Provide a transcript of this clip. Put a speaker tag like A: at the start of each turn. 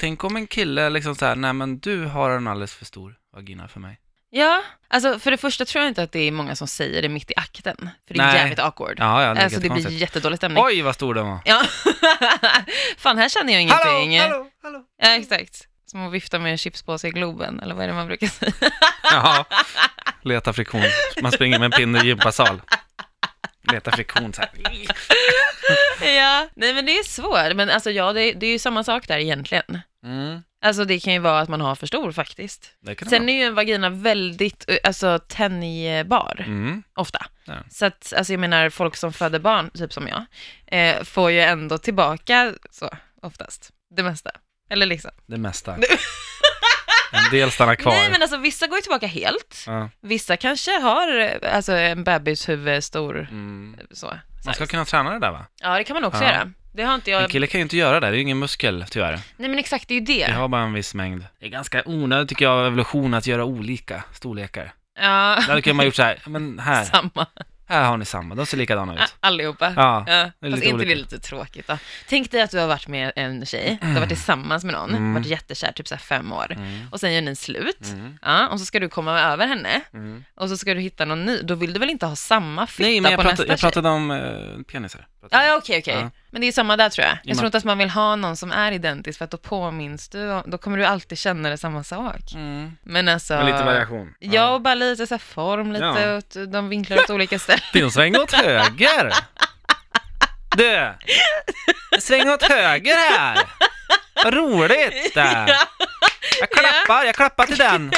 A: Tänk om en kille liksom så här, nej men du har en alldeles för stor vagina för mig.
B: Ja, alltså för det första tror jag inte att det är många som säger det mitt i akten, för det är
A: Nej.
B: jävligt awkward.
A: Ja, ja, det är
B: alltså det blir
A: jättekonstigt.
B: jättedålig stämning.
A: Oj vad stor den var.
B: Ja. Fan, här känner jag ingenting.
A: hallå, hallå.
B: Ja, exakt. Som att vifta med en chipspåse i Globen, eller vad är det man brukar säga?
A: Ja, leta friktion. Man springer med en pinne i gympasal. Leta friktion så här.
B: ja. Nej, men det är svårt. Men alltså ja, det, det är ju samma sak där egentligen.
A: Mm,
B: Alltså det kan ju vara att man har för stor faktiskt.
A: det kan det
B: Sen
A: vara.
B: är ju en vagina väldigt eh, alltså, tänjbar,
A: Mm,
B: ofta.
A: Ja.
B: Så att, alltså jag menar, folk som föder barn, typ som jag, eh, får ju ändå tillbaka så, oftast. Det mesta. Eller liksom.
A: det mesta. En del stannar kvar.
B: Nej, men alltså vissa går ju tillbaka helt.
A: ja.
B: Vissa kanske har eh, alltså, en bebishuvud stor,
A: mm.
B: så.
A: Man ska kunna träna det där va?
B: Ja, det kan man också
A: Ja.
B: göra. Det har inte jag...
A: En kille kan ju inte göra det, det är ju ingen muskel tyvärr.
B: Nej, men exakt, det är ju det.
A: Vi
B: Ja.
A: har bara en viss mängd. Det är ganska onödigt tycker jag av evolution att göra olika storlekar. Där hade man gjort så här, men här,
B: Samma,
A: här har ni samma, de ser likadana ut.
B: allihopa.
A: Ja, det är
B: Fast
A: lite
B: inte det är
A: olika.
B: lite tråkigt då. Tänk dig att du har varit med en tjej, du har varit tillsammans med någon,
A: Mm.
B: varit jättekär typ så här fem år.
A: Mm.
B: Och sen gör ni slut,
A: Mm.
B: ja, och så ska du komma över henne,
A: Mm.
B: och så ska du hitta någon ny. Då vill du väl inte ha samma fitta
A: Nej, men jag,
B: på
A: pratar,
B: nästa
A: jag
B: tjej?
A: pratade om eh, penisar.
B: Ja, ja, okej, okej.
A: Ja.
B: Men det är samma där tror jag.
A: men-
B: Jag tror inte att man vill ha någon som är identisk, för att då påminns du, om- då kommer du alltid känna det samma sak.
A: Mm.
B: Men alltså...
A: Med lite variation.
B: Ja, och bara lite så här form, lite
A: Ja.
B: åt, de vinklar åt olika ställen.
A: Din sväng åt höger! Du! Sväng åt höger här! Vad roligt! Jag klappar, jag klappar till den!